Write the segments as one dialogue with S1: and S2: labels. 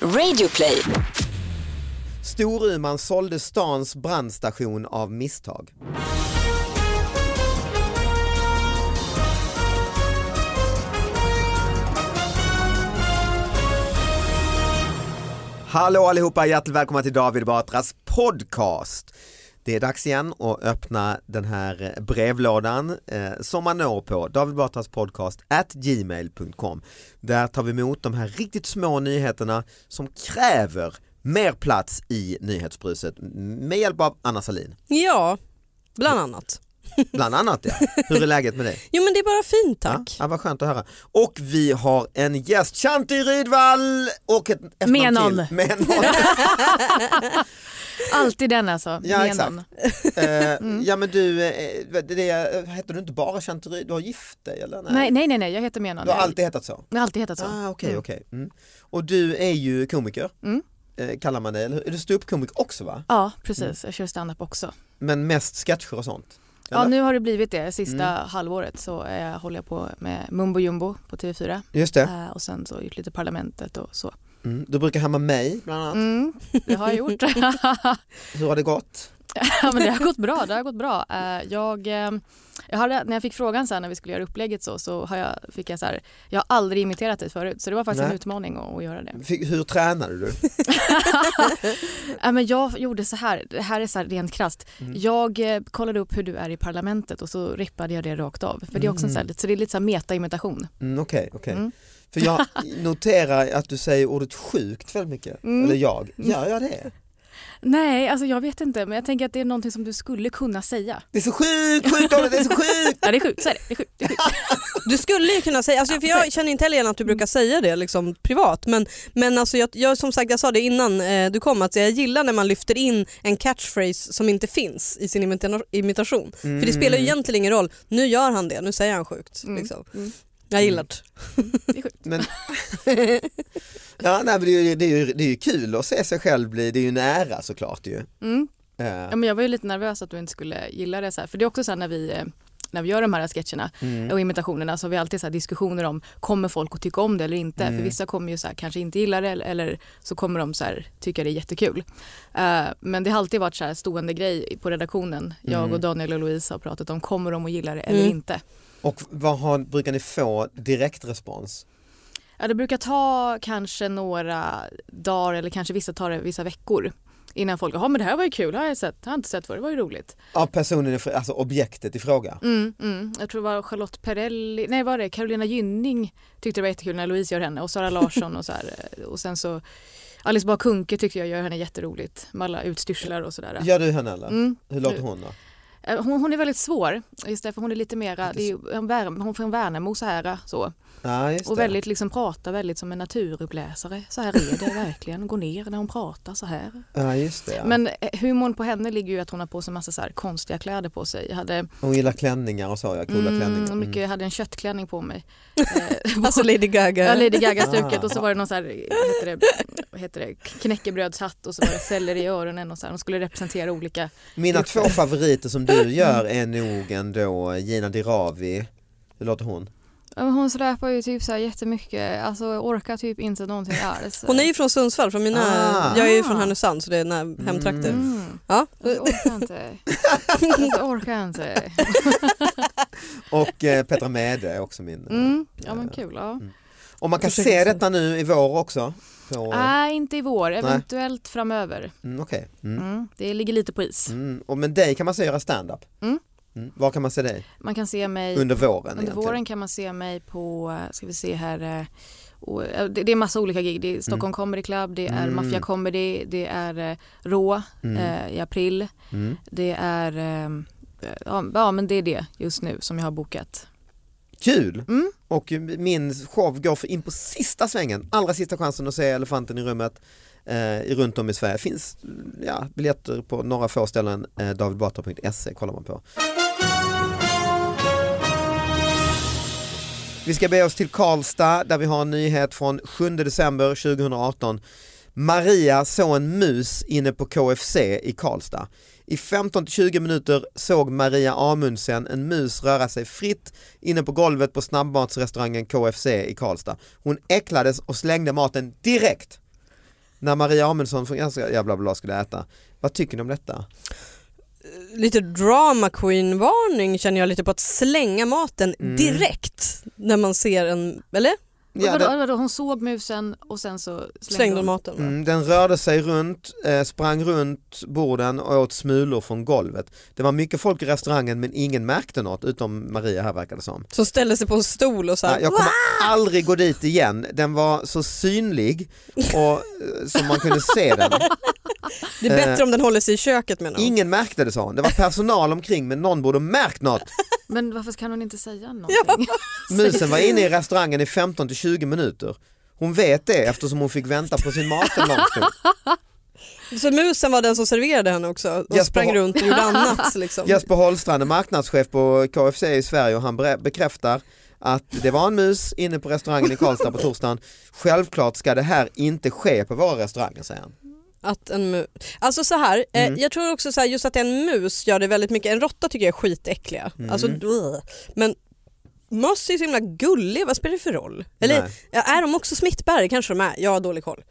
S1: Radioplay.
S2: Storuman sålde stans brandstation av misstag. Hallå allihopa, hjärtligt välkomna till David Batras podcast. Det är dags igen att öppna den här brevlådan eh, som man når på davidbatraspodcast at gmail.com. Där tar vi emot de här riktigt små nyheterna som kräver mer plats i nyhetsbruset med hjälp av Anna Salin.
S3: Ja, bland annat.
S2: Bland annat ja. Hur är läget med dig?
S3: Jo men det är bara fint tack.
S2: Ja, ja, vad skönt att höra. Och vi har en gäst, Shanti Rydvall! Och ett efternamn
S4: Menon.
S2: till. Menon.
S4: Alltid den alltså.
S2: Ja,
S4: menon.
S2: Eh, Ja men du, eh, vad- det, eh, heter du inte bara Shanti Ryd? Du har gift dig eller?
S4: Nej, nej, nej, nej, jag heter Menon.
S2: Du har
S4: Jag-
S2: alltid hetat så?
S4: Jag har alltid hetat så.
S2: Ah, Okej,
S4: Mm.
S2: okej. Mm. Och du är ju komiker,
S4: Mm.
S2: eh, kallar man dig, eller hur? Är du ståuppkomiker också va?
S4: Ja, precis. Jag kör stand-up också.
S2: Men mest sketcher och sånt?
S4: Ja, nu har det blivit det. Sista
S2: Mm.
S4: halvåret så eh, håller jag på med Mumbo Jumbo på TV4
S2: Just det,
S4: eh, och sen så har jag gjort lite Parlamentet och så.
S2: mm. du brukar hamna mig bland annat.
S4: Mm, det har jag gjort.
S2: Hur har det gått?
S4: ja, men det har gått bra. Det har gått bra. Eh, jag, eh, jag hade, när jag fick frågan så här, när vi skulle göra upplägget så, så har jag, fick jag så här, jag har aldrig imiterat dig förut så det var faktiskt
S2: Nej.
S4: en utmaning att, att göra det.
S2: Fick, hur tränade du?
S4: Ja, men jag gjorde så här, det här är så här rent krasst. Jag eh, kollade upp hur du är i parlamentet och så rippade jag det rakt av. För det är också en så, här, lite- så det är lite så här meta-imitation.
S2: Mm, Okej, okej.
S4: Mm.
S2: För jag noterar att du säger ordet sjukt väldigt mycket.
S4: Mm.
S2: Eller jag. Gör jag det?
S4: Nej, alltså jag vet inte men jag tänker att det är någonting som du skulle kunna säga.
S2: Det är så sjukt, sjukt dåligt, det är så sjukt!
S4: Ja det är sjukt, så är det. det är sjukt.
S3: Du skulle ju kunna säga, alltså, för jag känner inte heller igen att du brukar säga det liksom, privat men, men alltså, jag, jag, som sagt jag sa det innan eh, du kom att jag gillar när man lyfter in en catchphrase som inte finns i sin imita- imitation. För det spelar
S2: Mm.
S3: ju egentligen ingen roll, nu gör han det, nu säger han sjukt.
S4: Mm.
S3: Liksom.
S4: Mm.
S3: Jag gillar det.
S2: Men... ja, nej, men det, är ju, det, är ju, det är ju kul att se sig själv bli, det är ju nära såklart ju.
S4: Mm.
S2: Eh,
S4: Ja, men jag var ju lite nervös att du inte skulle gilla det så här. För det är också så här när vi eh, när vi gör de här sketcherna
S2: Mm.
S4: och imitationerna så har vi alltid så här diskussioner om kommer folk att tycka om det eller inte. För vissa kommer ju så här, kanske inte gilla det eller, eller så kommer de så här, tycka det är jättekul. Eh, men det har alltid varit så här stående grej på redaktionen. Jag och Daniel och Louise har pratat om kommer de att gilla det eller
S3: Mm.
S4: inte.
S2: Och vad har, brukar ni få direktrespons?
S4: Ja, det brukar ta kanske några dagar eller kanske vissa tar det vissa veckor innan folk, ja men det här var ju kul, det har jag sett, det har jag inte sett förr, det var ju roligt.
S2: Av personen, i fr- alltså objektet i fråga?
S4: Mm, mm. Jag tror det var Charlotte Perrelli, nej var det Carolina Gynning tyckte det var jättekul när Louise gör henne och Sara Larsson och så här. Och sen så Alice Bah Kuhnke tyckte jag gör henne jätteroligt med alla utstyrslar och sådär.
S2: Gör du henne eller?
S4: Mm.
S2: Hur låter hon då?
S4: Eh, Hon, hon är väldigt svår, just därför hon är lite mera, det är ju en värme, hon är från Värnamo så här så.
S2: Ja, just
S4: Och
S2: det.
S4: väldigt liksom pratar väldigt som en naturuppläsare, så här är det verkligen, går ner när hon pratar så här.
S2: Ja, just det. Ja.
S4: Men eh, humorn på henne ligger ju att hon har på sig massa så här konstiga kläder på sig. Jag hade,
S2: Hon gillar klänningar och så, ja, coola klänningar.
S4: mm,
S2: Mm.
S4: mycket, jag hade en köttklänning på mig. Eh,
S3: Alltså Lady Gaga.
S4: Ja, Lady Gaga-stuket
S2: Ah.
S4: och så var det någon så här, vad heter det, vad heter det, knäckebrödshatt och så var det selleri i öronen och så här. De skulle representera olika.
S2: Mina två favoriter som du gör är nog ändå Gina Dirawi, hur låter hon?
S4: Hon släpar ju typ så här jättemycket, alltså orkar typ inte någonting alls.
S3: Hon är ju från Sundsvall, från mina,
S2: Ah.
S3: jag är ju från Härnösand så det är när, hemtrakter.
S4: Mm.
S3: Ja.
S4: Jag orkar inte. Jag orkar inte.
S2: Och eh, Petra Mede är också min.
S4: Mm. Ja men kul. Ja.
S2: Och man kan
S3: Försöker
S2: se
S3: se.
S2: detta nu i vår också? På...
S4: Nej inte i vår, eventuellt framöver.
S2: Mm, Okej. Mm.
S4: Mm. Det ligger lite på is.
S2: Mm. Och men dig kan man se göra stand-up?
S4: Mm.
S2: Mm. Var kan man se dig?
S4: Man kan se mig
S2: Under våren?
S4: Under
S2: egentligen.
S4: våren kan man se mig på, eh, ska vi se här, eh, och, eh, det, det är massa olika gig. Det är Stockholm Comedy Club, det är
S2: Mm.
S4: Mafia Comedy, det är eh, Rå eh, i april.
S2: Mm.
S4: Det är, eh, ja, ja men det är det just nu som jag har bokat.
S2: Kul!
S4: Mm.
S2: Och min show går för in på sista svängen, allra sista chansen att se Elefanten i rummet eh, i- runt om i Sverige. finns ja, biljetter på några få ställen, eh, davidbatra.se kollar man på. Vi ska be oss till Karlstad där vi har en nyhet från 7 december 2018. Maria såg en mus inne på KFC i Karlstad. I 15-20 minuter såg Maria Amundsen en mus röra sig fritt inne på golvet på snabbmatsrestaurangen KFC i Karlstad. Hon äcklades och slängde maten direkt. när Maria Amundson från Ganska jävla bra skulle äta, vad tycker ni om detta?
S3: Lite drama queen varning känner jag lite på att slänga maten
S2: Mm.
S3: direkt när man ser en, eller?
S4: Ja,
S2: Ja,
S4: vadå,
S2: den,
S4: vadå, hon såg musen och sen så slängde,
S3: Slängde hon maten?
S2: mm, den rörde sig runt, eh, sprang runt borden och åt smulor från golvet. Det var mycket folk i restaurangen men ingen märkte något utom Maria här verkar det som.
S3: Som ställde sig på en stol och så här,
S2: Nej, jag kommer aldrig gå dit igen. Den var så synlig och, eh, som man kunde se den.
S3: det är bättre
S2: eh,
S3: om den håller sig i köket menar hon.
S2: Ingen märkte det sa hon. Det var personal omkring men någon borde ha märkt något.
S4: Men varför kan hon inte säga någonting?
S2: Musen var inne i restaurangen i 15 till 20 minuter. Hon vet det eftersom hon fick vänta på sin mat en lång stund.
S3: Så musen var den som serverade henne också och
S2: Jesper
S3: sprang
S2: har-
S3: runt och gjorde annat liksom.
S2: Jesper Holstrand är marknadschef på KFC i Sverige och han bre- bekräftar att det var en mus inne på restaurangen i Karlstad på torsdagen. Självklart ska det här inte ske på våra restauranger säger han.
S3: Att en mu- alltså så här,
S2: Mm.
S3: eh, jag tror också så här, just att en mus gör det väldigt mycket. En råtta tycker jag är skitäckliga.
S2: Mm.
S3: Alltså, bleh. men möss är så himla gulliga, vad spelar det för roll? Eller
S2: Nej.
S3: ja, är de också smittbärare? Kanske de är, jag har dålig koll.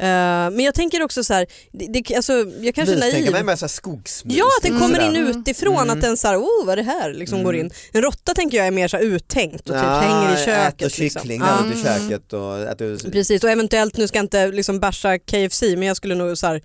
S3: Eh, men jag tänker också så här, det, det, alltså, jag kanske är
S2: mus tänker
S3: naiv.
S2: mig mer så här skogsmus. Mm.
S3: Ja, att den
S2: lite
S3: kommer
S2: sådär.
S3: in utifrån, att den såhär, oh vad är det här? Liksom går in. En råtta tänker jag är mer så här uttänkt och
S2: Mm.
S3: typ
S2: Ja,
S3: hänger i köket.
S2: Äter kyckling
S3: liksom. Ja.
S2: där ute i köket och äter
S3: Precis och eventuellt, nu ska jag inte liksom basha KFC men jag skulle nog så här,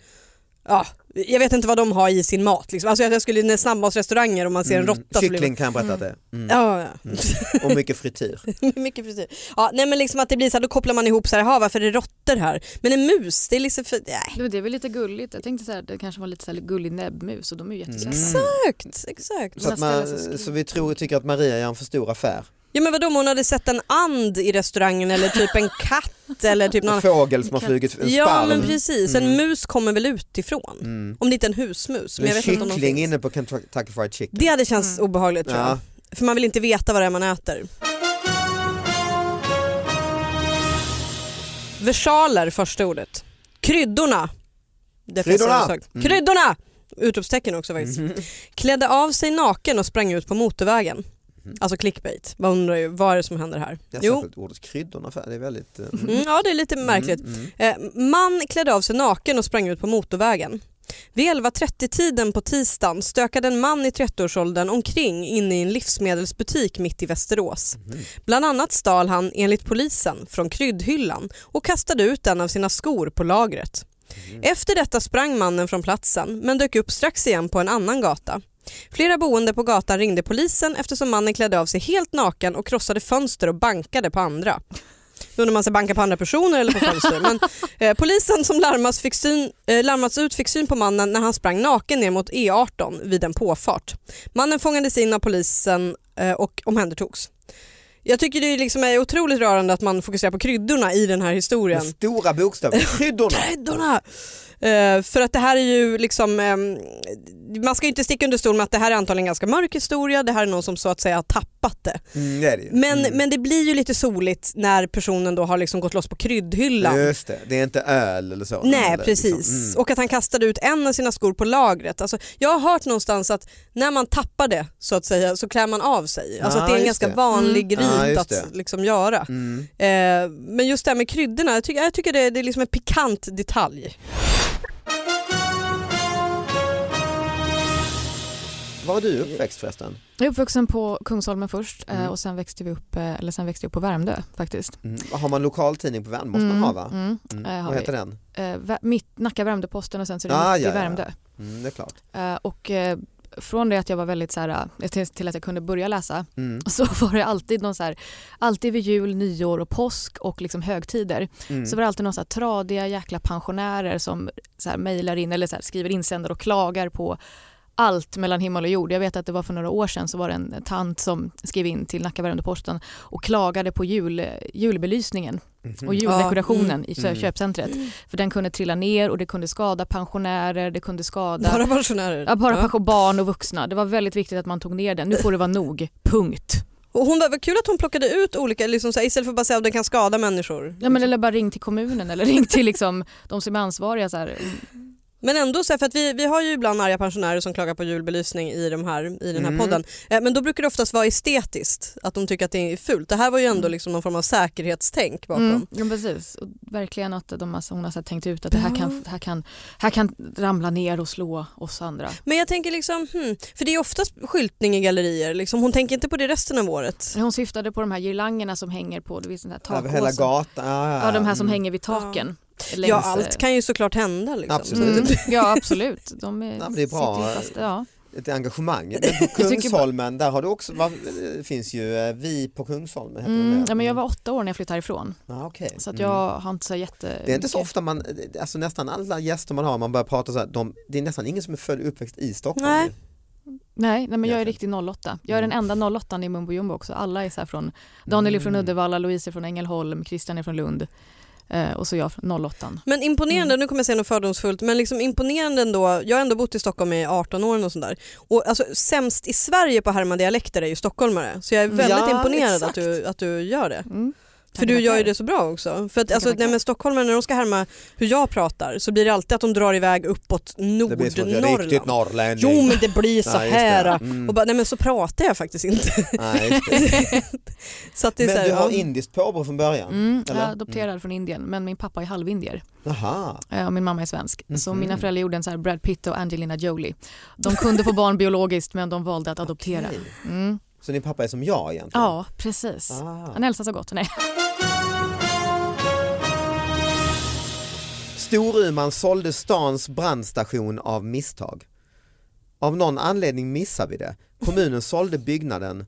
S3: ja, jag vet inte vad de har i sin mat. Liksom. Alltså jag jag skulle när snabbmatsrestauranger om man ser en
S2: Mm,
S3: råtta så blir man-
S2: Kyckling kan jag berätta att det är. Mm.
S3: Ja, ja.
S2: Och mycket frityr.
S3: mycket frisyr. Ja, nej men liksom att det blir så här, då kopplar man ihop så här, "Jaha, varför är det råttor här? Men en mus, det är liksom för, nej.
S4: Det är väl lite gulligt. Jag tänkte så här, det kanske var lite så här gullig näbbmus och de är ju
S2: Mm.
S4: jättesöta.
S3: Exakt, exakt.
S2: Så, att man, så vi tror, tycker att Maria gör en för stor affär.
S3: Ja men vadå om hon hade sett en and i restaurangen eller typ en katt eller typ någon
S2: En fågel som har
S4: Kan-
S2: flugit en
S3: Ja
S2: sparv.
S3: men precis, en
S2: Mm.
S3: mus kommer väl utifrån.
S2: Mm.
S3: Om det inte är en husmus. Men jag
S2: En
S3: vet inte om de
S2: kyckling
S3: finns.
S2: inne på Kentucky Fried Chicken.
S3: Det hade känts
S4: Mm.
S3: obehagligt tror
S2: Ja.
S3: jag. För man vill inte veta vad det är man äter. Versaler första ordet. Kryddorna. Det finns
S2: Kryddorna!
S3: en sak.
S2: Mm.
S3: Kryddorna! Utropstecken också faktiskt. Klädde av sig naken och sprang ut på motorvägen.
S2: Mhm.
S3: Alltså clickbait. Man undrar ju vad är det som händer här.
S2: Jag
S3: Jo,
S2: har sett ordet kryddorna för det är väldigt... eh, Mm.
S3: mm, ja det är lite märkligt.
S2: Mm, mm.
S3: Eh, Man klädde av sig naken och sprang ut på motorvägen. Vid 11.30-tiden på tisdagen stökade en man i 30-årsåldern omkring inne i en livsmedelsbutik mitt i Västerås.
S2: Mm.
S3: Bland annat stal han, enligt polisen, från kryddhyllan och kastade ut en av sina skor på lagret. Efter detta sprang mannen från platsen men dök upp strax igen på en annan gata. Flera boende på gatan ringde polisen eftersom mannen klädde av sig helt naken och krossade fönster och bankade på andra. Då undrar man sig banka på andra personer eller på fönster. Men, eh, polisen som larmas, fick syn, eh, larmats ut fick syn på mannen när han sprang naken ner mot E18 vid en påfart. Mannen fångades in av polisen eh, och omhändertogs. Jag tycker det är liksom är otroligt rörande att man fokuserar på kryddorna i den här
S2: Med
S3: historien.
S2: stora bokstäver, kryddorna.
S3: Kryddorna! Eh, för att det här är ju liksom, ehm, man ska ju inte sticka under stol med att det här är antagligen en ganska mörk historia, det här är någon som så att säga har tappat det.
S2: Mm, det är det ju.
S3: Men,
S2: Mm.
S3: men det blir ju lite soligt när personen då har liksom gått loss på kryddhyllan.
S2: Just det, det är inte öl eller så.
S3: Nej
S2: eller,
S3: precis,
S2: liksom.
S3: och att han kastade ut en av sina skor på lagret. Alltså, jag har hört någonstans att när man tappar det så att säga så klär man av sig. Alltså
S2: Ja,
S3: att det är en
S2: just
S3: ganska
S2: det.
S3: vanlig
S2: Mm. Ja,
S3: rit
S2: just det.
S3: att liksom göra.
S2: Mm. Mm.
S3: Eh, men just det här med kryddorna, jag tycker, jag tycker det, det är liksom en pikant detalj.
S2: Var är du uppväxt förresten?
S4: Jag är uppvuxen på Kungsholmen först eh,
S2: Mm.
S4: och sen växte, vi upp, eh, eller sen växte jag upp på Värmdö faktiskt.
S2: Mm. Har man lokaltidning på Värmdö? Måste man
S4: Mm,
S2: ha va?
S4: Mm.
S2: Mm.
S4: Eh, har
S2: Vad
S4: vi.
S2: heter den?
S4: Eh, Vä- mitt, Nacka Värmdö-Posten och sen så är det
S2: Ah,
S4: mitt
S2: ja,
S4: i
S2: ja, ja.
S4: Värmdö.
S2: Mm, det är klart.
S4: Eh, och eh, från det att jag var väldigt så här, eh, till, till att jag kunde börja läsa
S2: Mm.
S4: så var det alltid någon så här, alltid vid jul, nyår och påsk och liksom högtider
S2: Mm.
S4: så var det alltid någon så här tradiga jäkla pensionärer som så här mejlar in eller så här skriver insändare och klagar på allt mellan himmel och jord. Jag vet att det var för några år sedan så var det en tant som skrev in till Nacka Värmdö-Posten och klagade på jul, eh, julbelysningen
S2: Mhm.
S4: och juldekorationen
S3: Ja, mm,
S4: i
S2: mm.
S4: kö- köpcentret. För den kunde trilla ner och det kunde skada pensionärer, det kunde skada
S3: Bara pensionärer.
S4: Ja, bara pension, barn och vuxna. Det var väldigt viktigt att man tog ner den. Nu får det vara nog. Punkt.
S3: Och hon var, vad kul att hon plockade ut olika, liksom, så här, istället för att bara säga att den kan skada människor.
S4: Ja, men eller bara ring till kommunen eller ring till liksom, de som är ansvariga. Så här.
S3: Men ändå, så här, för att vi, vi har ju ibland arga pensionärer som klagar på julbelysning i, de här, i den här
S2: Mm.
S3: podden. Eh, Men då brukar det oftast vara estetiskt, att de tycker att det är fult. Det här var ju ändå
S2: Mm.
S3: liksom någon form av säkerhetstänk bakom.
S4: Mm, ja, precis. Och verkligen att de har, hon har så här tänkt ut att det här kan, här, kan, här kan ramla ner och slå oss andra.
S3: Men jag tänker liksom, hmm, för det är oftast skyltning i gallerier. Liksom, hon tänker inte på det resten av året.
S4: Hon syftade på de här girlangerna som hänger på du vet, sån här
S2: Över hela
S4: takåsen.
S2: gatan. Ah,
S4: Ja, de här som
S2: mm.
S4: hänger vid taken. längs,
S3: Ja,
S4: eh,
S3: allt kan ju såklart hända. Liksom.
S2: Absolut.
S4: Mm, ja absolut, de är,
S2: Typ, Ja, men det är bra.
S4: sitter ju fast. Ja.
S2: Ett engagemang. Men på
S4: Jag tycker-
S2: Kungsholmen, där har du också, va, det finns ju eh, Vi på Kungsholmen. heter
S4: Mm,
S2: det.
S4: ja, men jag var åtta år när jag flyttade härifrån
S2: Ah, okej.
S4: så att
S2: Mm.
S4: jag har inte så jätte...
S2: Det är inte så ofta man, alltså nästan alla gäster man har, man börjar prata så här, de, det är nästan ingen som är född och uppväxt i Stockholm.
S3: Nej.
S2: ju. Mm.
S4: Nej, nej men jag är
S2: Egentligen.
S4: riktig 08. Jag är
S2: Mm.
S4: den enda 08 i Mumbo Jumbo också. Alla är så här från, Daniel är från
S2: Mm.
S4: Uddevalla, Louise är från Ängelholm, Christian är från Lund eh, och så jag från 08.
S3: Men
S2: Mm.
S3: imponerande, nu kommer jag säga något fördomsfullt, men liksom imponerande ändå. Jag har ändå bott i Stockholm i 18 år och sånt där. Och alltså, sämst i Sverige på att härma dialekter är ju stockholmare. Så jag är väldigt
S2: Ja,
S3: imponerad
S2: exakt.
S3: att du, att du gör det.
S4: Mm.
S3: För du gör ju det så bra också. För att, alltså,
S4: tackar.
S3: nej, men stockholmare när de ska härma hur jag pratar så blir det alltid att de drar iväg uppåt
S2: Det blir som att jag är riktigt
S3: Nordnorrland.
S2: norrlänning.
S3: Jo men det blir så
S2: Nej, just det.
S3: här.
S2: Mm.
S3: Och bara, nej men så pratar jag faktiskt inte.
S2: Nej, just det.
S3: Så att det är så
S2: Men
S3: här,
S2: du har
S3: ja.
S2: indiskt påbrå från början?
S4: Mm, jag
S2: eller?
S4: är adopterad från Indien men min pappa är halvindier
S2: Jaha.
S4: eh, och min mamma är svensk. Så
S2: Mhm.
S4: mina föräldrar gjorde en så här Brad Pitt och Angelina Jolie. De kunde få barn biologiskt men de valde att adoptera.
S2: Okej.
S4: Mm.
S2: Så din pappa är som jag egentligen?
S4: Ja, precis.
S2: Ah.
S4: Han hälsar så gott. Nej.
S2: Storuman sålde stans brandstation av misstag. Av någon anledning missade vi det. Kommunen sålde byggnaden,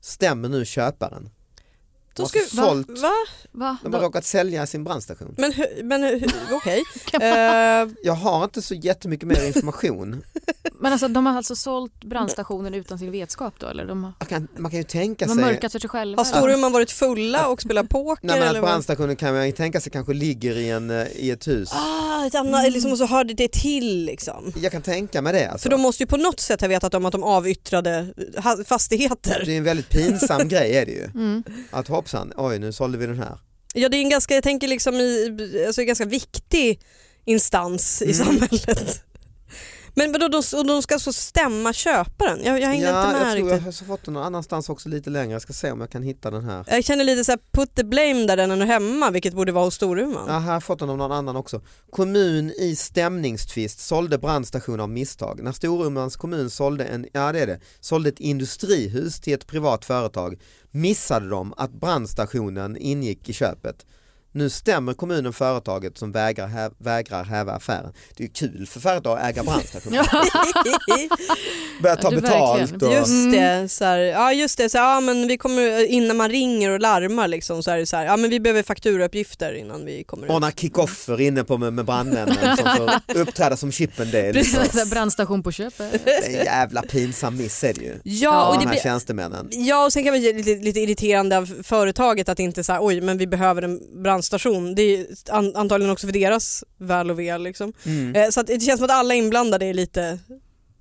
S2: stämmer nu köparen.
S3: Då
S2: har
S3: ska,
S2: alltså
S3: va,
S2: sålt-
S3: va?
S4: Va?
S2: De har råkat sälja sin brandstation.
S3: Men, hur- men hur- okej. Eh,
S2: Jag har inte så jättemycket mer information.
S4: Men alltså, de har alltså sålt brandstationen utan sin vetskap då? Eller de har,
S2: Man kan, man kan ju tänka
S4: de har
S2: sig
S4: mörkat för sig själva?
S3: Har
S4: eller?
S3: Storuman varit fulla och spelat poker?
S2: Nej, men
S3: eller
S2: att
S3: vad?
S2: brandstationen kan man ju tänka sig kanske ligger i, en, eh, i ett hus.
S3: Ah, ett annat, liksom, och så hörde det till liksom.
S2: Jag kan tänka mig det. Alltså.
S3: För de måste ju på något sätt ha vetat om att de avyttrade eh, ha- fastigheter.
S2: Det är en väldigt pinsam grej är det ju.
S4: Mm.
S2: Att hoppsan, oj nu sålde vi den här.
S3: Ja, det är en ganska, jag tänker liksom i, alltså, en ganska viktig instans i
S2: Mm.
S3: samhället. Men vadå, de, och de ska alltså stämma köparen? Jag, jag hängde
S2: ja,
S3: inte med
S2: jag tror
S3: riktigt.
S2: jag har så fått den någon annanstans också lite längre. Jag ska se om jag kan hitta den här.
S3: Jag känner lite så här, put the blame där den är hemma, vilket borde vara hos Storuman.
S2: Ja, här har jag fått den av någon annan också. Kommun i stämningstvist sålde brandstation av misstag. När Storumans kommun sålde, en, ja, det är det, sålde ett industrihus till ett privat företag missade de att brandstationen ingick i köpet. Nu stämmer kommunen företaget som vägrar, hä- vägrar häva affären. Det är ju kul för företag att äga brandstationer. Börja ta
S4: Ja, du,
S2: betalt.
S4: verkligen.
S2: Och...
S3: Just det, så här, ja just det, så här, ja, men vi kommer, eh, innan man ringer och larmar liksom, så är det så här, ja men vi behöver fakturauppgifter innan vi kommer ut.
S2: ordna kickoffer inne på med, med brandmännen som får uppträda som Chippendale.
S4: Precis, så här brandstation på köpet.
S2: Det är liksom en jävla pinsam miss är det ju.
S3: Ja, och
S2: de
S3: det
S2: här
S3: blir,
S2: tjänstemännen.
S3: ja och sen kan det bli lite, lite irriterande av företaget att inte säga oj men vi behöver en brandstation. Det är an, antagligen också för deras väl och ve liksom.
S2: Mm.
S3: Eh, Så att det känns som att alla inblandade är lite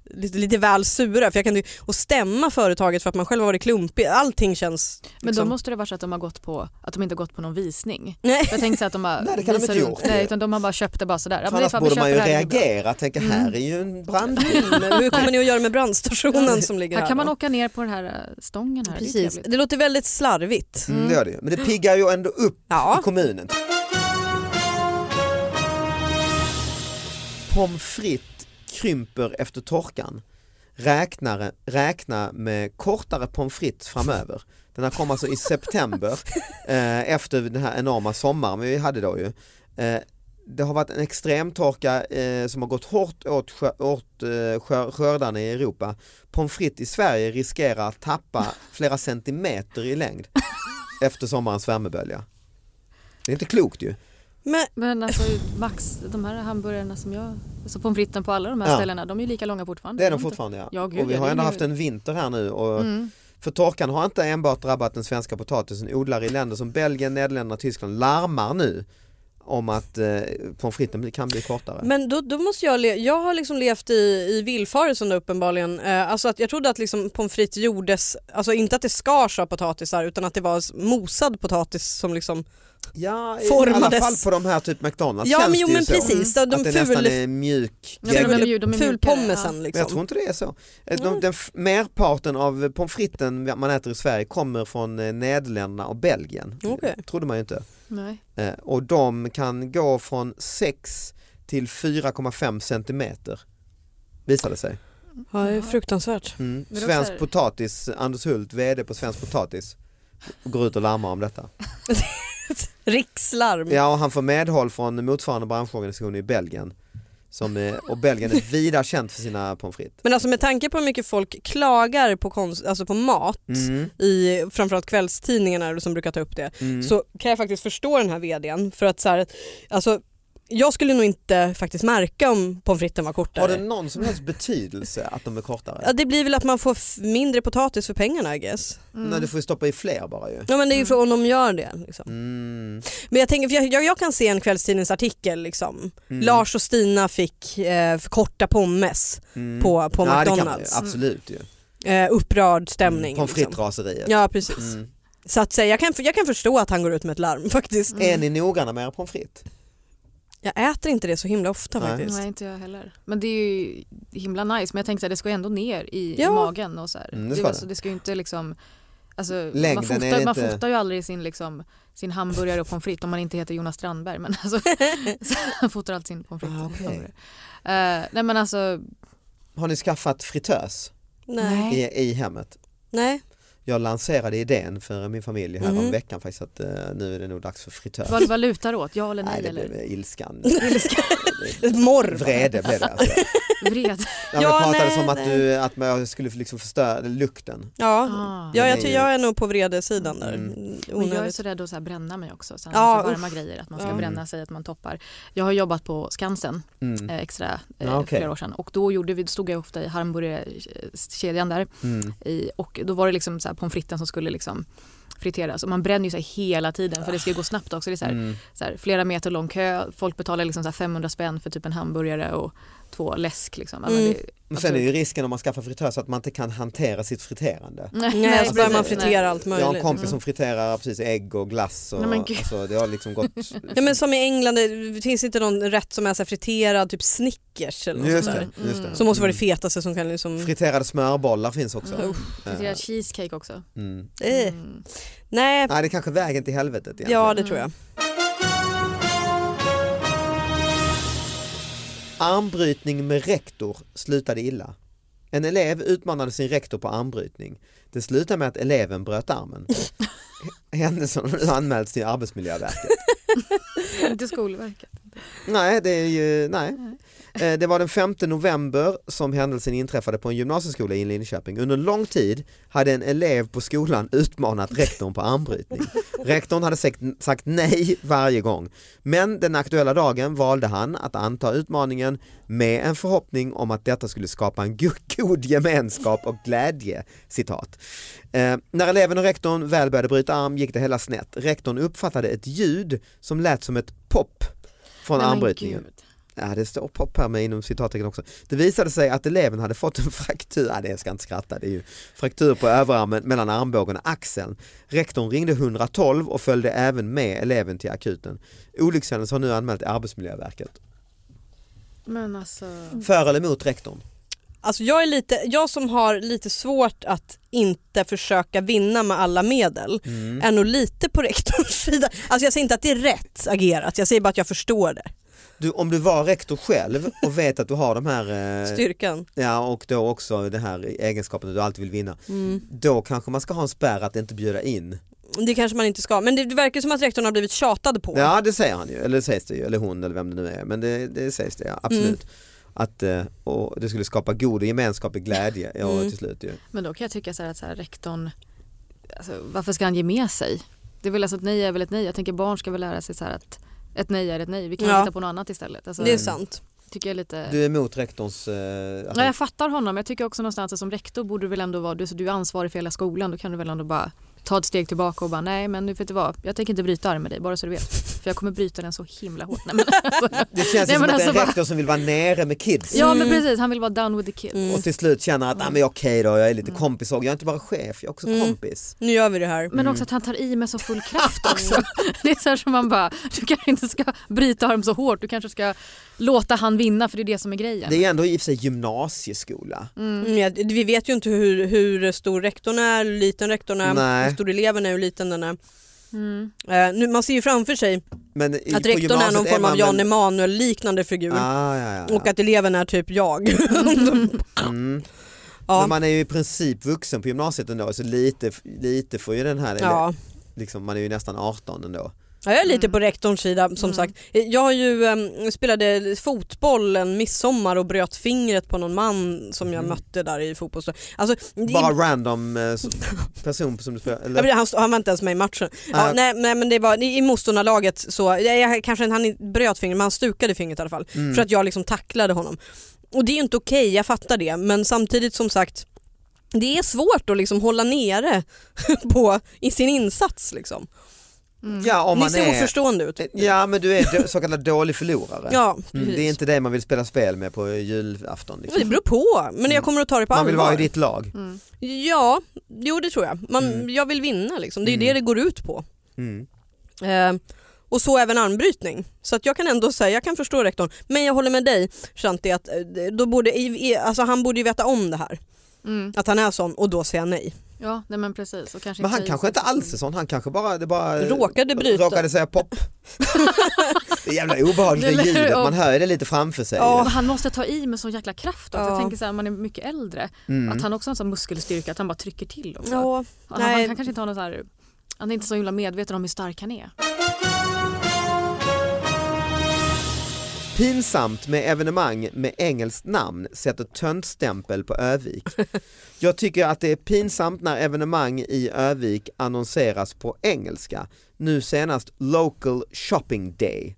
S3: Lite, lite väl sura för jag kan ju, och stämma företaget för att man själv har varit klumpig, allting känns...
S4: Men då
S3: liksom-
S4: måste det vara så att de har gått på, att de inte har gått på någon visning.
S3: Nej.
S4: För Jag tänkte så här att de bara
S2: Nej, det kan de
S4: visar
S2: inte
S4: runt.
S2: gjort.
S4: Nej, utan de har bara köpt det bara sådär.
S2: För
S4: Ja, men det är
S2: annars
S4: fan, vi
S2: borde man ju
S4: köper det här, det är bra.
S2: reagera, tänka här är ju en brand.
S3: Men Eh, hur kommer ni att göra med brandstationen som ligger här?
S4: Här kan man
S3: då?
S4: åka ner på den här eh, stången här.
S3: Precis.
S4: Det är
S3: Det låter väldigt slarvigt.
S2: Mm, det gör det ju. Men det piggar ju ändå upp
S3: Ja.
S2: i kommunen. Pommes frites krymper efter torkan. Räknare, räkna med kortare pommes frites framöver. Den här kom alltså i september eh, efter den här enorma sommaren vi hade då ju. Eh, det har varit en extremtorka eh, som har gått hårt åt, skö- åt eh, skör- skördarna i Europa. Pommes frites i Sverige riskerar att tappa flera centimeter i längd efter sommarens värmebölja. Det är inte klokt ju.
S3: Men,
S4: Men alltså Max, de här hamburgarna som jag, alltså pommes fritesen på alla de här
S2: Ja.
S4: ställena, de är ju lika långa fortfarande.
S2: Det är de
S4: inte-
S2: fortfarande ja.
S4: Ja, gud,
S2: och vi
S4: ja,
S2: har
S4: det är
S2: ändå
S4: ju-
S2: haft en vinter här nu och
S4: Mm.
S2: för torkan har inte enbart drabbat den svenska potatisen. Odlare i länder som Belgien, Nederländerna och Tyskland larmar nu om att eh, pommes fritesen kan bli kortare.
S3: Men då, då måste jag, le- jag har liksom levt i, i villfarelsen då uppenbarligen. Eh, alltså att jag trodde att liksom pommes frites gjordes, alltså inte att det skars av potatisar utan att det var s- mosad potatis som liksom,
S2: ja, i alla
S3: formades-
S2: fall på de här typ McDonalds
S3: Ja,
S2: känns
S3: men jo,
S2: det ju
S3: men
S2: så. Mm.
S3: precis. De
S2: att det nästan
S3: ful-
S2: är mjäk.
S4: Ja, men de är ju- de är mjukare,
S3: fulpommesen
S2: Men jag tror
S3: liksom.
S2: inte det är så. Eh, De,
S3: Mm.
S2: den, f- merparten av eh, pommes fritesen man äter i Sverige kommer från eh, Nederländerna och Belgien.
S3: Okej.
S2: Det trodde man ju inte.
S4: Nej.
S2: Eh, Och de kan gå från 6 till 4,5 centimeter visade sig.
S3: Ja, det är fruktansvärt.
S2: Mm.
S4: Men det är
S2: Svensk
S4: också-
S2: potatis, Anders Hult, vd på Svensk potatis, går ut och larmar om detta.
S3: Mm. Rikslarm.
S2: Ja, och han får medhåll från motsvarande branschorganisation i Belgien. Som, eh, och Belgien är vida känt för sina pommes frites.
S3: Men alltså med tanke på hur mycket folk klagar på, konst, alltså på mat,
S2: Mm,
S3: i framförallt kvällstidningarna som brukar ta upp det,
S2: mm.
S3: så kan jag faktiskt förstå den här vdn. För att så här, alltså, jag skulle nog inte faktiskt märka om pommes fritesen var
S2: Har
S3: kortare.
S2: det någon som helst betydelse att de är kortare?
S3: Ja, det blir väl att man får f- mindre potatis för pengarna I guess.
S4: Mm.
S2: Nej, du får ju stoppa i fler bara ju.
S3: Ja men det är ju frågan om de gör det. Liksom.
S2: Mm,
S3: Men jag, tänker, för jag, jag, jag kan se en kvällstidningsartikel liksom.
S2: mm,
S3: Lars och Stina fick eh, för korta pommes
S2: mm.
S3: på, på
S2: Ja, det kan man ju,
S3: McDonalds.
S2: absolut ju.
S3: Eh, upprörd stämning.
S2: Pommes
S3: liksom.
S2: frites-raseriet.
S3: Ja precis.
S2: Mm.
S3: Så att säga, jag kan, jag kan förstå att han går ut med ett larm faktiskt.
S2: Är ni noggranna med era pommes frites?
S3: Jag äter inte det så himla ofta
S2: Nej.
S3: faktiskt.
S4: Nej, inte jag heller. Men det är ju himla nice. Men jag tänkte att det ska ju ändå ner i,
S3: Ja.
S4: i magen. Och så här.
S2: Mm, det ska
S4: alltså, det ska ju inte liksom... Alltså,
S2: Längden
S4: man, fotar,
S2: är
S4: man
S2: inte-
S4: fotar ju aldrig sin, liksom, sin hamburgare och pommes frites om man inte heter Jonas Strandberg. Men alltså, så han fotar alltid sin pommes frites.
S2: Ah,
S4: och sin
S2: okej.
S4: hamburgare. Eh, nej men alltså,
S2: Har ni skaffat fritös
S3: Nej.
S2: i, i hemmet?
S3: Nej.
S2: Jag lanserade idén för min familj här om
S3: Mhm.
S2: veckan faktiskt att eh, nu är det nog dags för fritös.
S4: vad, vad lutar åt? Ja eller nej?
S2: Nej det
S4: eller?
S2: blev ilskan.
S3: Ett morv.
S2: Vrede blev det alltså.
S4: Vred.
S2: Ja,
S3: Ja,
S2: jag pratade
S3: nej,
S2: som att,
S3: nej.
S2: du, att jag skulle liksom förstöra lukten.
S3: Ja.
S4: Ah.
S3: ja,
S2: Den
S3: jag
S2: är
S3: tror
S2: ju-
S3: jag är nog på vredesidan där.
S2: Mm.
S4: Men jag är
S3: Onödigt.
S4: så rädd att så här bränna mig också. Så här,
S3: Ja,
S4: så varma grejer, att man ska
S3: Ja.
S4: bränna sig, att man toppar. Jag har jobbat på Skansen
S2: Mm.
S4: eh, extra eh,
S2: Ja, okej.
S4: för flera år sedan och då gjorde vi, då stod jag ofta i hamburgerkedjan där
S2: Mm.
S4: i, och då var det liksom så här pommes fritesen som skulle liksom friteras och man bränner ju så här hela tiden för det ska ju gå snabbt också. Det är så här,
S2: Mm.
S4: så här, flera meter lång kö, folk betalar liksom så här 500 spänn för typ en hamburgare och två läsk. Liksom. Ja, men
S3: Mm.
S4: det,
S2: Men sen är ju risken om man skaffar fritös att man inte kan hantera sitt
S4: Mm,
S2: friterande.
S3: Nej, så börjar man
S4: precis.
S3: fritera allt
S2: Jag har en
S3: möjligt.
S2: kompis som friterar precis ägg och glass och
S4: Nej, men gud.
S2: alltså, det har liksom gått.
S3: Ja, men som i England, det finns inte någon rätt som är så här friterad, typ Snickers eller något
S2: Just
S3: sånt där.
S2: det, just det.
S4: Mm.
S3: Som måste vara det
S2: Mm.
S3: fetaste som kan liksom...
S2: Friterade smörbollar finns också.
S4: Mm.
S2: Eh,
S4: Fritera cheesecake också.
S2: Mm.
S3: Eh,
S4: Mm.
S2: Nej
S3: nej,
S2: det är kanske vägen till helvetet egentligen.
S3: ja det tror jag.
S2: Armbrytning med rektor slutade illa. En elev utmanade sin rektor på armbrytning. Det slutade med att eleven bröt armen. Händelsen har nu anmälts till Arbetsmiljöverket.
S4: Inte Skolverket.
S2: Nej, det är ju, nej. Eh, Det var den 5 november som händelsen inträffade på en gymnasieskola i Linköping. Under lång tid hade en elev på skolan utmanat rektorn på armbrytning. Rektorn hade sagt, sagt nej varje gång. Men den aktuella dagen valde han att anta utmaningen med en förhoppning om att detta skulle skapa en go- god gemenskap och glädje. Citat. Eh, när eleven och rektorn väl började bryta arm gick det hela snett. Rektorn uppfattade ett ljud som lät som ett pop från
S4: Nej, men
S2: armbrytningen.
S4: gud.
S2: Ja, det står pop här med inom citattecken också. Det visade sig att eleven hade fått en fraktur, ja, det jag ska inte skratta, det är ju fraktur på överarmen mellan armbågen och axeln. Rektorn ringde 112 och följde även med eleven till akuten. Olyckshändelsen har nu anmält till Arbetsmiljöverket.
S4: Men alltså...
S2: För eller emot rektorn?
S3: Alltså jag, är lite, jag som har lite svårt att inte försöka vinna med alla medel
S2: Mm.
S3: är nog lite på rektorns sida. Alltså jag säger inte att det är rätt agerat, jag säger bara att jag förstår det.
S2: Du, om du var rektor själv och vet att du har de här, eh,
S3: Styrkan.
S2: ja och då också den här egenskapen att du alltid vill vinna,
S3: Mm.
S2: då kanske man ska ha en spärr att inte bjuda in.
S3: Det kanske man inte ska, men det, det verkar som att rektorn har blivit tjatad på.
S2: Ja det säger han ju, eller sägs det ju, eller hon eller vem det nu är, men det, det sägs det ja, absolut.
S3: Mm.
S2: Att eh, och det skulle skapa god gemenskap och glädje ja,
S3: Mm.
S2: till slut ju.
S4: Men då kan jag tycka så här att så här, rektorn, alltså, varför ska han ge med sig? Det är väl alltså ett nej är väl ett nej. Jag tänker barn ska väl lära sig så här att ett nej är ett nej. Vi kan
S3: Ja.
S4: hitta på något annat istället. Alltså,
S3: Det är sant.
S4: tycker jag är lite...
S2: Du är emot rektorns... Eh, att-
S4: Ja, jag fattar honom. Jag tycker också någonstans att som rektor borde du väl ändå vara, du, så du är ansvarig för hela skolan. Då kan du väl ändå bara ta ett steg tillbaka och bara nej men nu vet du vad, jag tänker inte bryta armen med dig bara så du vet. För jag kommer bryta den så himla hårt. Nej, men alltså,
S2: Det känns ju
S4: Nej,
S2: som att
S4: men
S2: det är
S4: alltså
S2: en
S4: bara-
S2: rektor som vill vara nere med kids
S4: ja men precis, han vill vara done with the kids.
S3: Mm.
S2: och till slut känner att ah, men okej då, jag är lite kompis och jag är inte bara chef, jag är också
S3: Mm.
S2: kompis.
S3: Nu gör vi det här.
S4: Men också att han tar i med så full kraft också. Det är så här som man bara, du kanske inte ska bryta arm så hårt, du kanske ska låta han vinna för det är det som är grejen.
S2: Det är ju ändå i och för sig gymnasieskola.
S3: Mm, ja, vi vet ju inte hur, hur stor rektorn är, hur liten rektorn är,
S2: Nej.
S3: hur stor eleven är, hur liten den är.
S4: Mm.
S3: Eh, nu, man ser ju framför sig
S2: Men i,
S3: att
S2: på
S3: rektorn är
S2: gymnasiet
S3: någon form av
S2: man
S3: Jan
S2: väl-
S3: Emanuel liknande figur
S2: ah, ja, ja, ja.
S3: och att eleven är typ jag.
S2: mm. Men
S3: ja.
S2: man är ju i princip vuxen på gymnasiet ändå så lite, lite får ju den här, eller,
S3: Ja.
S2: liksom, man är ju nästan 18 ändå.
S3: Ja, jag är lite på rektorns sida som sagt. Eh, Jag har ju, em, spelade fotboll en midsommar och bröt fingret på någon man som
S2: Mm.
S3: jag mötte där i fotbollslag. Alltså, det-
S2: Bara random eh, som- person som du spelar,
S3: Ja,
S2: eller?
S3: men han, stod- han var inte ens med i matchen.
S2: Ah.
S3: Ja, nej, nej men det var i motståndarlaget så, jag, jag, kanske inte- han inte bröt fingret men han stukade fingret i alla fall
S2: Mm.
S3: för att jag liksom tacklade honom. Och det är ju inte okej, jag fattar det men samtidigt som sagt det är svårt att liksom hålla nere på, i sin insats. Liksom.
S4: Mm.
S2: Ja, om
S3: Ni
S2: man
S3: ser
S2: är,
S3: oförstående ut.
S2: ja men du är då- så kallad dålig förlorare.
S3: Ja,
S2: Mm, det är
S3: precis.
S2: inte det man vill spela spel med på julafton.
S3: Det
S2: Liksom.
S3: beror på, men jag kommer att ta det på
S2: Man
S3: allvar.
S2: vill vara i ditt lag.
S4: Mm.
S3: Ja, jo det tror jag. Man,
S2: Mm.
S3: Jag vill vinna liksom. det är ju
S2: Mm.
S3: det det går ut på.
S2: Mm.
S3: Eh, och så även armbrytning. Så att jag kan ändå säga, jag kan förstå rektorn. Men jag håller med dig Shanti, att eh, då borde, i- i- alltså han borde ju veta om det här.
S4: Mm.
S3: Att han är sån och då säga nej.
S4: Ja, nej men precis. Och kanske
S2: Men han
S4: ta i
S2: kanske
S4: så-
S2: inte alls är sån, han kanske bara, det bara
S3: Råkade bryta.
S2: råkade säga pop. det är jävla obehagligt
S4: Eller
S2: det
S4: hur?
S2: ljudet, man hör ju det lite framför sig.
S4: Ja,
S2: ju.
S4: men han måste ta i med sån jäkla kraft också.
S3: Ja.
S4: Jag tänker så här, man är mycket äldre.
S2: Mm.
S4: Att han också har en sån muskelstyrka, att han bara trycker till också.
S3: Ja,
S4: han,
S3: nej.
S4: han, han kanske inte har någon så här, han är inte så himla medveten om hur stark han är.
S2: Pinsamt med evenemang med engelskt namn sätter töntstämpel på Övik. Jag tycker att det är pinsamt när evenemang i Övik annonseras på engelska. Nu senast Local Shopping Day.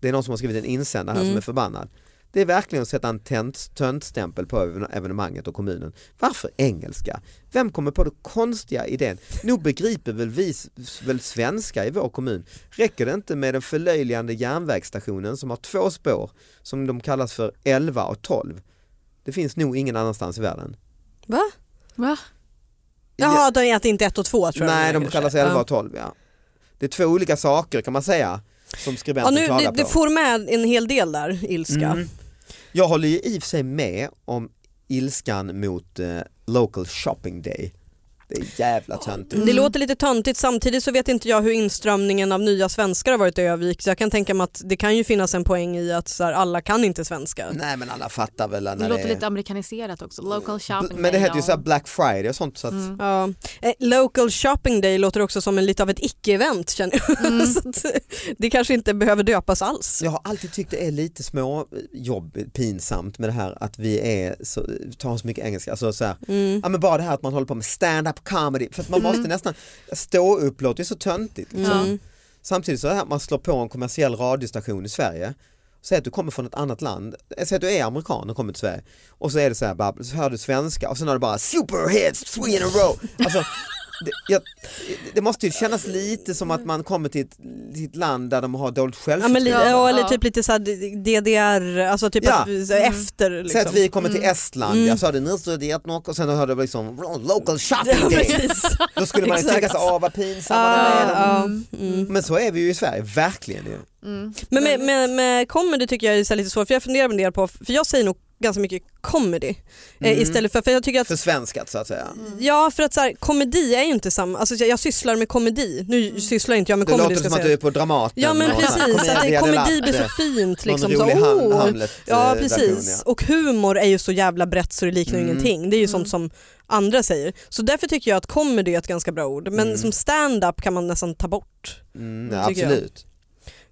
S2: Det är någon som har skrivit en insändare här som
S3: Mm.
S2: är förbannad. Det är verkligen att sätta en tönt- töntstämpel på even- evenemanget och kommunen. Varför engelska? Vem kommer på den konstiga idén? Nog begriper väl vi s- väl svenska i vår kommun? Räcker det inte med den förlöjligande järnvägsstationen som har två spår som de kallas för 11 och 12? Det finns nog ingen annanstans i världen.
S3: Va?
S4: Va?
S3: Jaha, de är att det inte är ett och två tror jag.
S2: Nej,
S3: menar,
S2: de
S3: kanske.
S2: kallas 11 och 12 ja. Det är två olika saker kan man säga som
S3: Ja,
S2: skribenten
S3: nu,
S2: klagar
S3: det, det
S2: på.
S3: får med en hel del där, ilska.
S2: Mm. Jag håller ju i och för sig med om ilskan mot eh, Local Shopping Day. Det är jävla töntigt.
S4: Mm.
S3: Det låter lite töntigt samtidigt så vet inte jag hur inströmningen av nya svenskar har varit i Övik så jag kan tänka mig att det kan ju finnas en poäng i att så här, alla kan inte svenska.
S2: Nej men alla fattar väl när
S4: Det låter
S2: är...
S4: lite amerikaniserat också. Local shopping.
S2: Men det heter ju
S4: day,
S2: så här
S4: ja.
S2: Black Friday och sånt så att
S4: Mm.
S3: Ja. Eh, Local shopping day låter också som en, lite av ett icke-event känner jag. så att, eh, det kanske inte behöver döpas alls.
S2: jag har alltid tyckt det är lite små jobb pinsamt med det här att vi är så, tar så mycket engelska. Alltså så här,
S3: Mm.
S2: ja, men bara det här att man håller på med stand-up comedy för att man måste nästan stå upp låter ju så töntigt. Liksom.
S4: Ja.
S3: Mm.
S2: Samtidigt så är det här att man slår på en kommersiell radiostation i Sverige. Säg att du kommer från ett annat land, säg att du är amerikan och kommer till Sverige och så är det så här, bara, så hör du svenska och sen har du bara superhits three in a row. Alltså, det, jag, det måste ju kännas lite som att man kommer till ett, till ett land där de har dåligt
S3: Ja, men li-
S2: självförtroende.
S3: ja, eller
S4: Ja.
S3: typ lite så här DDR, alltså typ
S2: Ja.
S3: att vi, så här, efter. Liksom. Mm.
S2: Säg att vi kommer till Estland, jag sa det nu studerat något och sen hör du liksom local shopping
S3: Ja,
S2: day.
S3: precis.
S2: Då skulle man ju
S3: Exakt. Ah,
S2: tänka sig, åh vad pinsamma de
S3: Ja,
S2: är. de."
S3: ja. Mm.
S2: Men så är vi ju i Sverige, verkligen ju.
S3: Alltså-
S4: Mm.
S3: Men med, med, med comedy tycker jag är så här lite svårt för jag funderar en del på, för jag säger nog ganska mycket comedy eh,
S2: Mm.
S3: istället för, för jag tycker att
S2: Försvenskat så att säga.
S3: Mm. Ja för att så här, komedi är ju inte samma, alltså jag, jag sysslar med komedi, nu sysslar inte jag med
S2: Mm. Det
S3: comedy
S2: låter
S3: ska
S2: som
S3: jag
S2: att
S3: säga.
S2: du är på Dramaten.
S3: Ja men
S2: och så här,
S3: precis, att det,
S2: Commedia
S3: komedi
S2: dell'arte,
S3: blir så fint.
S2: någon
S3: Liksom, så,
S2: rolig
S3: oh.
S2: ham- Hamlet,
S3: Ja
S2: eh, version,
S3: precis,
S2: ja.
S3: och humor är ju så jävla brett så det liknar ju
S2: Mm.
S3: ingenting. Det är ju sånt som andra säger. Så därför tycker jag att comedy är ett ganska bra ord. Men
S2: Mm.
S3: som stand-up kan man nästan ta bort.
S2: Mm, ja,
S3: tycker jag.
S2: absolut.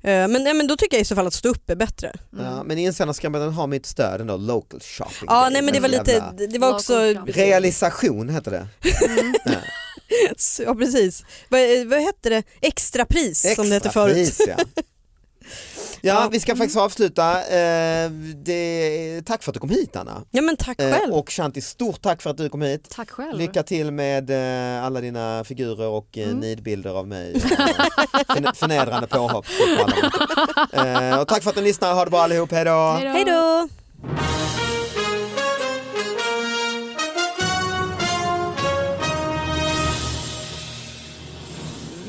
S3: Eh, Men, nej, men då tycker jag i så fall att stå upp är bättre.
S2: Ja, men insändarskrabbaren har mitt stöd ändå, local shopping.
S3: Ja
S2: day,
S3: nej Eh, men det var
S2: men
S3: lite,
S2: jävla-
S3: det var också,
S4: Lagom kram.
S2: Realisation heter det. Ja.
S3: ja eh, precis. Vad, vad hette det? Extrapris som det hette förut.
S2: Extrapris, ja. Ja, vi ska faktiskt avsluta. Eh, det, tack för att du kom hit Anna.
S3: Ja men tack
S2: Eh,
S3: själv.
S2: Och Shanti, stort tack för att du kom hit.
S4: Tack själv.
S2: Lycka till med eh, alla dina figurer och
S3: Mm.
S2: eh, nidbilder av mig. Eh, förne- förnedrande påhopp. på alla. Eh, och tack för att ni lyssnar. Ha det bra allihop. Hej då.
S4: Hej då.
S3: Hej då!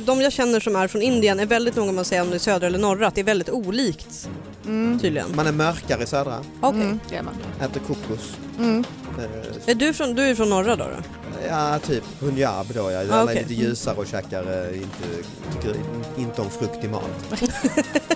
S3: De jag känner som är från Indien är väldigt noga med att säga om det är södra eller norra, att det är väldigt olikt
S4: Mm.
S3: tydligen.
S2: Man är mörkare i södra,
S3: Okej.
S4: Mm, det är man.
S2: äter kokos.
S4: Mm.
S2: Eh,
S3: Är du, från, du är från norra då? då?
S2: Ja, typ punjab då. Ja.
S3: Ah,
S2: Alla är
S3: okej.
S2: lite ljusare och käkar eh, inte, tycker inte om frukt i mat.